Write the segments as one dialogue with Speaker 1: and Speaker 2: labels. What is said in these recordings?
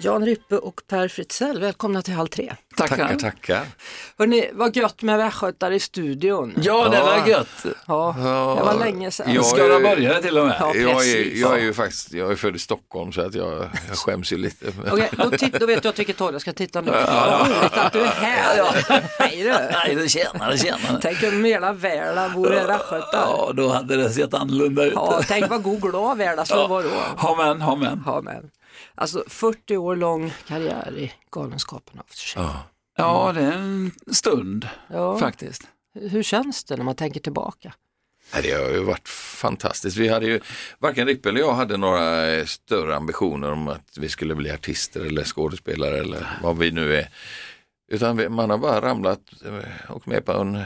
Speaker 1: Jan Ryppe och Per Fritzell, välkomna till Halv tre.
Speaker 2: Tackar.
Speaker 3: Tackar, tackar.
Speaker 1: Hörrni, vad gött med västgötar i studion.
Speaker 2: Ja, det var gött.
Speaker 1: Ja, det var länge sedan.
Speaker 3: Ja.
Speaker 2: Skaraborgare till och med.
Speaker 1: Ja.
Speaker 3: Jag är,
Speaker 1: precis.
Speaker 3: jag är ju faktiskt jag är född i Stockholm så att jag, jag skäms ju lite.
Speaker 1: Okej, då, titt, då vet jag åt vilket håll jag ska titta nu. Vad roligt att du är här. Hej du.
Speaker 2: Nej, det tjänade, tjänade.
Speaker 1: Tänk om hela världen vore västgötar.
Speaker 2: Ja, då hade det sett annorlunda ut.
Speaker 1: Ja, tänk vad god och glad världen skulle vara då.
Speaker 2: Ha men, ha men.
Speaker 1: Ja, men. Alltså 40 år lång karriär i Galenskaparna. och för sig.
Speaker 2: Ja, det är en stund
Speaker 1: Ja.
Speaker 2: faktiskt.
Speaker 1: Hur känns det när man tänker tillbaka?
Speaker 3: Nej, Det har ju varit fantastiskt. Vi hade ju, varken Rippe eller jag hade några eh, större ambitioner om att vi skulle bli artister eller skådespelare eller vad vi nu är. Utan vi, man har bara ramlat eh, och med på en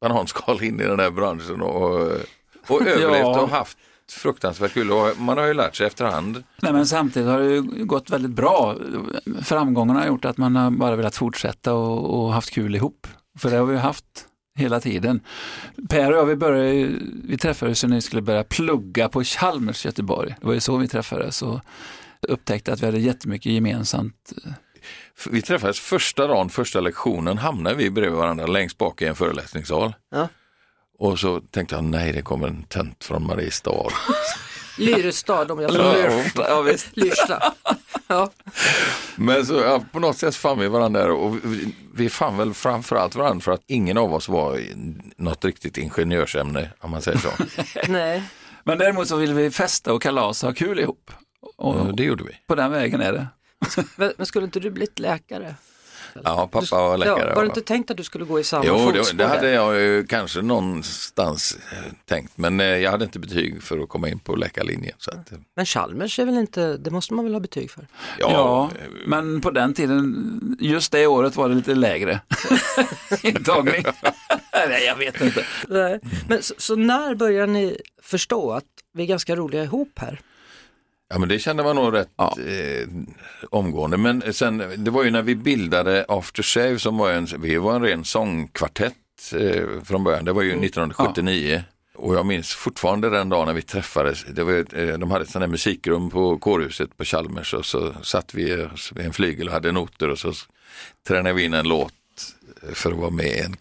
Speaker 3: bananskal in i den här branschen och, eh, och överlevt och haft fruktansvärt kul. Och man har ju lärt sig efterhand.
Speaker 2: Nej, men samtidigt har det ju gått väldigt bra. Framgångarna har gjort att man har bara velat fortsätta och, och haft kul ihop. För det har vi ju haft hela tiden. Per och jag, vi, började, ju- vi träffades ju när vi skulle börja plugga på Chalmers i Göteborg. Det var ju så vi träffades och upptäckte att vi hade jättemycket gemensamt.
Speaker 3: F- Vi träffades första dagen, första lektionen, hamnade vi bredvid varandra längst bak i en föreläsningssal.
Speaker 1: Ja.
Speaker 3: Och så tänkte jag, nej det kommer en tönt från Mariestad.
Speaker 1: Lyrestad om jag får
Speaker 3: Ja.
Speaker 2: Ja, visst.
Speaker 1: Lyrsta. Ja.
Speaker 3: Men så, ja, på något sätt fann vi varandra där och vi, vi fann väl framförallt varandra för att ingen av oss var i något riktigt ingenjörsämne om man säger så.
Speaker 1: Nej.
Speaker 2: Men däremot så vill vi festa och kalasa och ha kul ihop. Och
Speaker 3: Och det gjorde vi.
Speaker 2: på den vägen är det.
Speaker 1: Men men skulle inte du blivit läkare?
Speaker 3: Ja, pappa var läkare.
Speaker 1: Ja, var det inte tänkt att du skulle gå i samma
Speaker 3: Jo, det,
Speaker 1: fotspår?
Speaker 3: det hade
Speaker 1: där?
Speaker 3: jag ju kanske någonstans eh, tänkt, men eh, jag hade inte betyg för att komma in på läkarlinjen. Så att, eh,
Speaker 1: Men Chalmers är väl inte, det måste man väl ha betyg för?
Speaker 3: ja, eh,
Speaker 2: Ja, men på den tiden, just det året var det lite lägre intagning. Nej, jag vet inte.
Speaker 1: Nej. Mm. Men så, så när börjar ni förstå att vi är ganska roliga ihop här?
Speaker 3: Ja men det kände man nog rätt
Speaker 2: Ja.
Speaker 3: eh, omgående. Men sen, det var ju när vi bildade After Shave som var en, vi var en ren sångkvartett eh, från början. Det var
Speaker 2: Mm.
Speaker 3: ju 1979. Och jag minns fortfarande den dagen när vi träffades. Det var, ju ett, eh, de hade ett sånt där musikrum på kårhuset på Chalmers och så satt vi eh, vid en flygel och hade noter och så s- tränade vi in en låt eh, för att vara med i en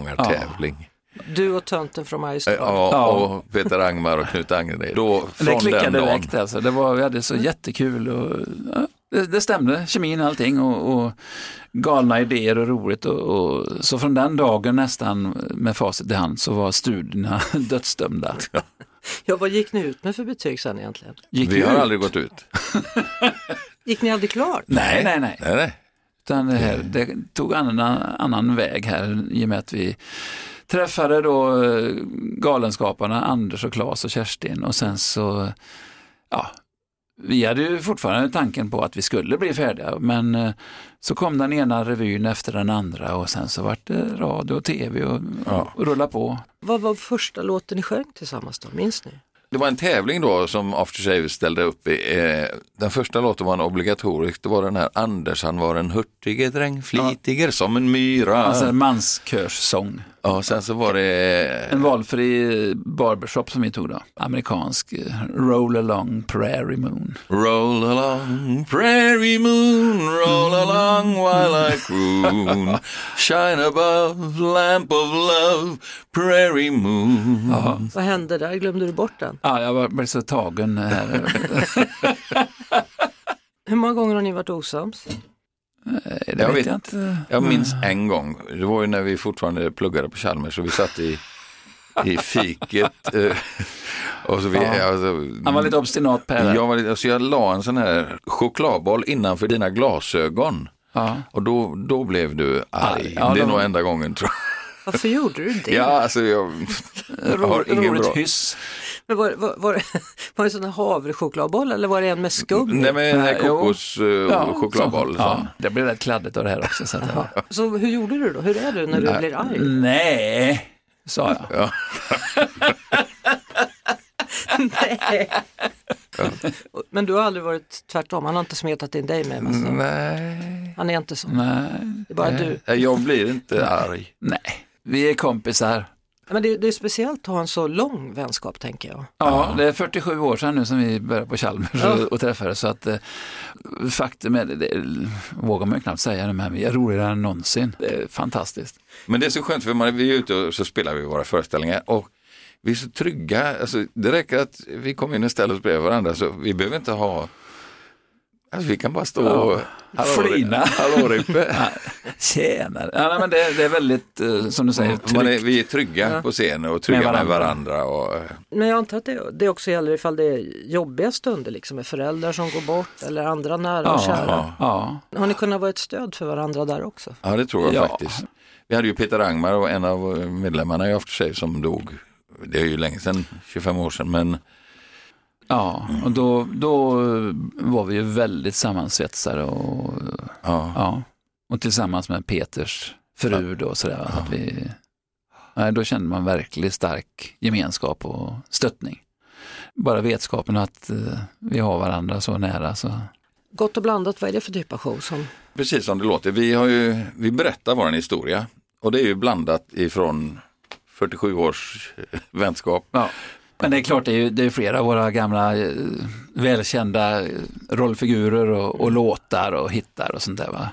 Speaker 3: kvartettsångartävling. Eh,
Speaker 1: Du och tönten från
Speaker 3: Ja.
Speaker 1: Mariestad.
Speaker 2: Ja.
Speaker 3: och Peter Angmar och Knut Angered. Då,
Speaker 2: Det
Speaker 3: från
Speaker 2: klickade
Speaker 3: den dagen.
Speaker 2: direkt alltså. Det var, vi hade så jättekul och ja, det, det stämde, kemin och allting och, och galna idéer och roligt. Och, och, så från den dagen nästan med facit i hand så var studierna dödsdömda.
Speaker 1: Ja, vad gick ni ut med för betyg sen egentligen?
Speaker 2: Gick
Speaker 3: Vi
Speaker 2: ju
Speaker 3: har
Speaker 2: ut.
Speaker 3: aldrig gått ut.
Speaker 1: Gick ni aldrig klart?
Speaker 2: Nej, nej, nej.
Speaker 3: Nej, nej.
Speaker 2: Utan det, här, det tog en annan, annan väg här i och med att vi träffade då eh, Galenskaparna, Anders och Claes och Kerstin och sen så, ja, vi hade ju fortfarande tanken på att vi skulle bli färdiga men eh, så kom den ena revyn efter den andra och sen så vart det radio och tv och,
Speaker 3: Ja.
Speaker 2: och rulla på.
Speaker 1: Vad var första låten ni sjöng tillsammans då? Minns ni?
Speaker 3: Det var en tävling då som After Shave ställde upp i. Eh, den första låten var en obligatorisk. Det var den här Anders, han var en hurtige dräng, flitiger som en myra.
Speaker 2: Alltså en manskörssång.
Speaker 3: ja, sen så var det...
Speaker 2: En valfri eh, barbershop som vi tog då, amerikansk, eh, Roll along prairie moon.
Speaker 3: Roll along prairie moon, roll along while I croon. Shine above lamp of love, prairie moon.
Speaker 1: Vad hände där? Glömde du bort den?
Speaker 2: Ja, jag var- blev så tagen här.
Speaker 1: Hur många gånger har ni varit osams?
Speaker 2: Det
Speaker 3: Jag
Speaker 2: vet,
Speaker 3: Eh, vet
Speaker 2: jag inte.
Speaker 3: Jag minns en gång, det var ju när vi fortfarande pluggade på Chalmers och vi satt i, i fiket. eh, och så vi,
Speaker 2: Ja.
Speaker 3: alltså,
Speaker 2: Han var lite obstinat Per.
Speaker 3: jag, var lite, alltså, jag la en sån här chokladboll innanför dina glasögon.
Speaker 2: Ja.
Speaker 3: Och då, då blev du arg.
Speaker 2: Arg, ja,
Speaker 3: det är
Speaker 2: då-
Speaker 3: nog enda gången tror
Speaker 1: Varför gjorde du det?
Speaker 3: jag. Ja, alltså jag, jag har ingen
Speaker 2: Roligt
Speaker 3: bra...
Speaker 2: hyss.
Speaker 1: Men var, var, var, var det sån här havrechokladboll eller var det en med skum?
Speaker 3: Nej men den här
Speaker 2: Jo.
Speaker 3: kokoschokladboll. chokladboll.
Speaker 2: så.
Speaker 3: så.
Speaker 2: Ja, det blev rätt kladdigt av det här också. Så att, ja.
Speaker 1: Så hur gjorde du då? Hur är du när du blir arg?
Speaker 2: Nej, sa jag.
Speaker 1: Nej. Men du har aldrig varit tvärtom, han har inte smetat in dig med en
Speaker 3: Mm.
Speaker 1: massa.
Speaker 3: Nej.
Speaker 1: Han är inte så.
Speaker 2: Nej.
Speaker 1: Det är bara du.
Speaker 3: Nej, Jag blir inte arg.
Speaker 2: Nej, vi är kompisar.
Speaker 1: Men det, det är speciellt att ha en så lång vänskap tänker jag.
Speaker 2: Ja, det är 47 år sedan nu som vi började på Chalmers
Speaker 1: Ja.
Speaker 2: och, och träffades. Så att, eh, faktum är, det, det vågar man ju knappt säga nu, men vi är roligare än någonsin. Det är fantastiskt.
Speaker 3: Men det är så skönt för man, vi är ute och så spelar vi våra föreställningar och vi är så trygga. Alltså, det räcker att vi kommer in och ställer oss bredvid varandra så vi behöver inte ha Alltså, vi kan bara stå
Speaker 2: Ja.
Speaker 3: och
Speaker 2: Flina.
Speaker 3: Hallå, Rippe.
Speaker 2: Tjenare! Ja, nej, men det, det är väldigt, eh, som du säger,
Speaker 3: Man är,
Speaker 2: tryggt.
Speaker 3: vi är trygga på scenen och trygga
Speaker 2: Med
Speaker 3: med
Speaker 2: varandra.
Speaker 3: varandra. och,
Speaker 1: Men jag antar att det, det också gäller ifall det är jobbiga stunder liksom med föräldrar som går bort eller andra nära och kära.
Speaker 3: ja.
Speaker 2: Ja.
Speaker 1: Har ni kunnat vara ett stöd för varandra där också?
Speaker 3: ja, det tror jag
Speaker 2: Ja.
Speaker 3: faktiskt. Vi hade ju Peter Rangmar och en av medlemmarna i After Shave som dog. Det är ju länge sedan, 25 år sedan, men
Speaker 2: Ja, och då, då var vi ju väldigt sammansvetsade och,
Speaker 3: ja.
Speaker 2: ja, och tillsammans med Peters fru då och sådär. Att vi, nej, då kände man verkligen stark gemenskap och stöttning. Bara vetskapen att eh, vi har varandra så nära. Så.
Speaker 1: Gott och blandat, vad är det för typ av show? Som...
Speaker 3: Precis som det låter. Vi, har ju, vi berättar vår historia och det är ju blandat ifrån 47 års vänskap.
Speaker 2: Ja. Men det är klart, det är, ju, det är flera av våra gamla eh, välkända eh, rollfigurer och, och låtar och hittar och sånt där. Va?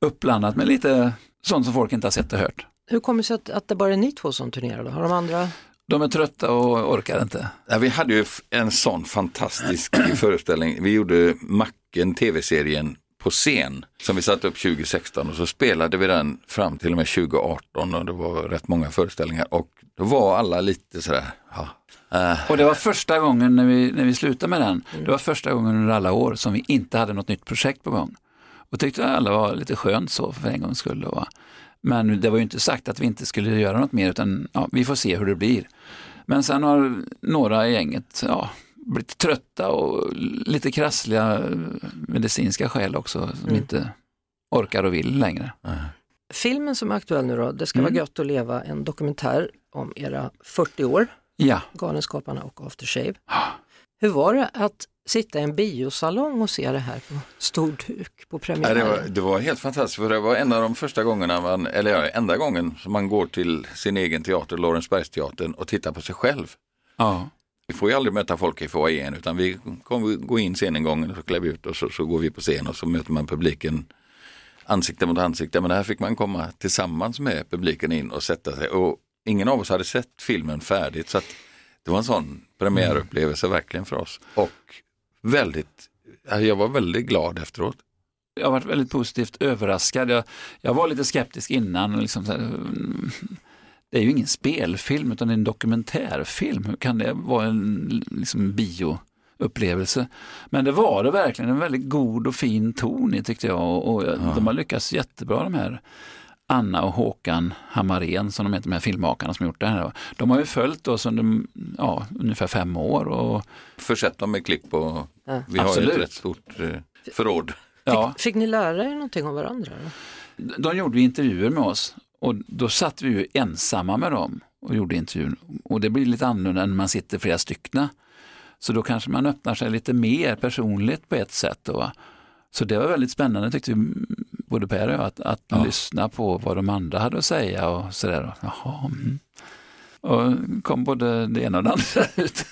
Speaker 2: Uppblandat med lite sånt som folk inte har sett och hört.
Speaker 1: Hur kommer det sig att, att det bara är ni två som turnerar då? Har de andra?
Speaker 2: De är trötta och orkar inte.
Speaker 3: Ja, vi hade ju f- en sån fantastisk föreställning. Vi gjorde Macken, tv-serien på scen som vi satte upp 2016 och så spelade vi den fram till och med 2018 och det var rätt många föreställningar och då var alla lite sådär, ja, eh,
Speaker 2: Och det var första gången när vi, när vi slutade med den, det var första gången under alla år som vi inte hade något nytt projekt på gång. Och tyckte alla var lite skönt så för en gångs skull. Va? Men det var ju inte sagt att vi inte skulle göra något mer utan ja, vi får se hur det blir. Men sen har några i gänget ja, blivit trötta och lite krassliga eh, medicinska skäl också som
Speaker 1: Mm.
Speaker 2: inte orkar och vill längre.
Speaker 1: Filmen som är aktuell nu då, Det ska
Speaker 2: Mm.
Speaker 1: vara gött att leva, en dokumentär om era 40 år,
Speaker 2: Ja,
Speaker 1: Galenskaparna och After Shave. Hur var det att sitta i en biosalong och se det här på stor duk på
Speaker 3: Ja,
Speaker 1: premiären?
Speaker 3: det, var, det var helt fantastiskt för det var en av de första gångerna, man, eller ja, enda gången som man går till sin egen teater, Lorensbergsteatern och tittar på sig själv.
Speaker 2: ja.
Speaker 3: Vi får ju aldrig möta folk i foajén utan vi kommer gå in scenengången och så klär vi ut oss och så går vi på scen och så möter man publiken ansikte mot ansikte. Men här fick man komma tillsammans med publiken in och sätta sig. Och ingen av oss hade sett filmen färdigt så att det var en sån premiärupplevelse verkligen för oss. Och väldigt, ja, jag var väldigt glad efteråt.
Speaker 2: jag har varit väldigt positivt överraskad. Jag, jag var lite skeptisk innan. och Liksom, så här, mm, det är ju ingen spelfilm utan det är en dokumentärfilm. Hur kan det vara en liksom, bioupplevelse? Men det var det verkligen. En väldigt god och fin ton i tyckte jag. Och, och jag- De har lyckats jättebra de här Anna och Håkan Hammarén som de heter, de här filmmakarna som gjort det här. De har ju följt oss under ja, ungefär fem år. Och,
Speaker 3: Försett dem med klipp och
Speaker 1: Ja.
Speaker 3: vi har ju
Speaker 2: Absolut.
Speaker 3: ett rätt stort eh, förråd.
Speaker 2: ja.
Speaker 1: Fick ni lära er någonting om varandra? Då?
Speaker 2: de gjorde ju intervjuer med oss och då satt vi ju ensamma med dem och gjorde intervjun. Och det blir lite annorlunda när man sitter flera stycken. Så då kanske man öppnar sig lite mer personligt på ett sätt. Då, va? Så det var väldigt spännande tyckte vi, både Per och jag, att, att
Speaker 3: Ja.
Speaker 2: lyssna på vad de andra hade att säga och sådär. Jaha, mm. Och kom både det ena och det andra ut.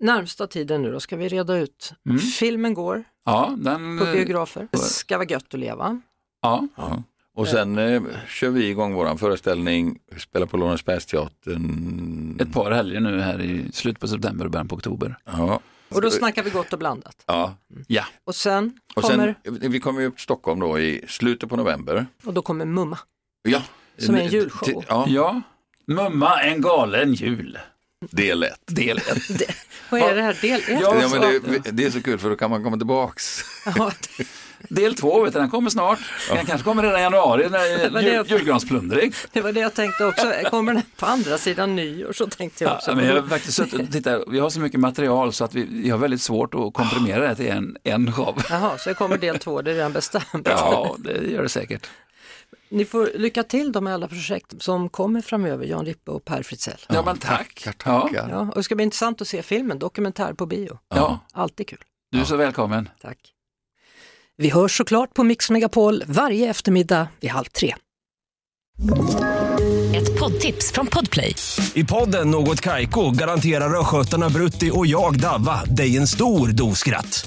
Speaker 1: Närmsta tiden nu då ska vi reda ut.
Speaker 2: Mm.
Speaker 1: Filmen går
Speaker 2: Ja, den,
Speaker 1: på biografer. Det ska vara gött att leva.
Speaker 2: ja,
Speaker 3: Ja. Och sen eh, kör vi igång våran föreställning, vi spelar på Lorensbergsteatern.
Speaker 2: ett par helger nu här i slutet på september och början på oktober.
Speaker 3: Ja.
Speaker 1: Och då snackar vi gott och blandat.
Speaker 3: ja.
Speaker 2: Ja,
Speaker 1: Och sen
Speaker 3: Och
Speaker 1: kommer,
Speaker 3: sen, vi kommer ju upp till Stockholm då i slutet på november.
Speaker 1: och då kommer Mumma.
Speaker 3: Ja.
Speaker 1: Som är en julshow.
Speaker 3: Till- Ja,
Speaker 2: ja. Mumma en galen jul.
Speaker 3: del ett.
Speaker 2: Del ett.
Speaker 1: Vad är det här? Del ett?
Speaker 2: Ja,
Speaker 3: Ja, men det, det är så kul för då kan man komma tillbaks.
Speaker 1: Ja,
Speaker 2: Del två, vet du, den kommer snart. Den kanske kommer redan i januari, när
Speaker 1: Vad är det
Speaker 2: jul,
Speaker 1: för-
Speaker 2: julgransplundring.
Speaker 1: det var det jag tänkte också. Kommer den på andra sidan nyår så tänkte jag
Speaker 2: Ja,
Speaker 1: också.
Speaker 2: men jag har faktiskt suttit och tittat, vi har så mycket material så att vi, vi har väldigt svårt att komprimera det till en, en show.
Speaker 1: Jaha, så det kommer del två, det är redan bestämt.
Speaker 2: Ja, det gör det säkert.
Speaker 1: Ni får lycka till då med alla projekt som kommer framöver, Jan Rippe och Per Fritzell.
Speaker 2: Ja, men tack. Ja,
Speaker 1: Ja, och det ska bli intressant att se filmen, dokumentär på bio.
Speaker 2: ja,
Speaker 1: Alltid kul.
Speaker 2: du är så välkommen.
Speaker 1: Tack. Vi hörs såklart på Mix Megapol varje eftermiddag vid halv tre.
Speaker 4: Ett poddtips från Podplay.
Speaker 5: I podden Något Kaiko garanterar östgötarna Brutti och jag, Davva, dig en stor dos skratt.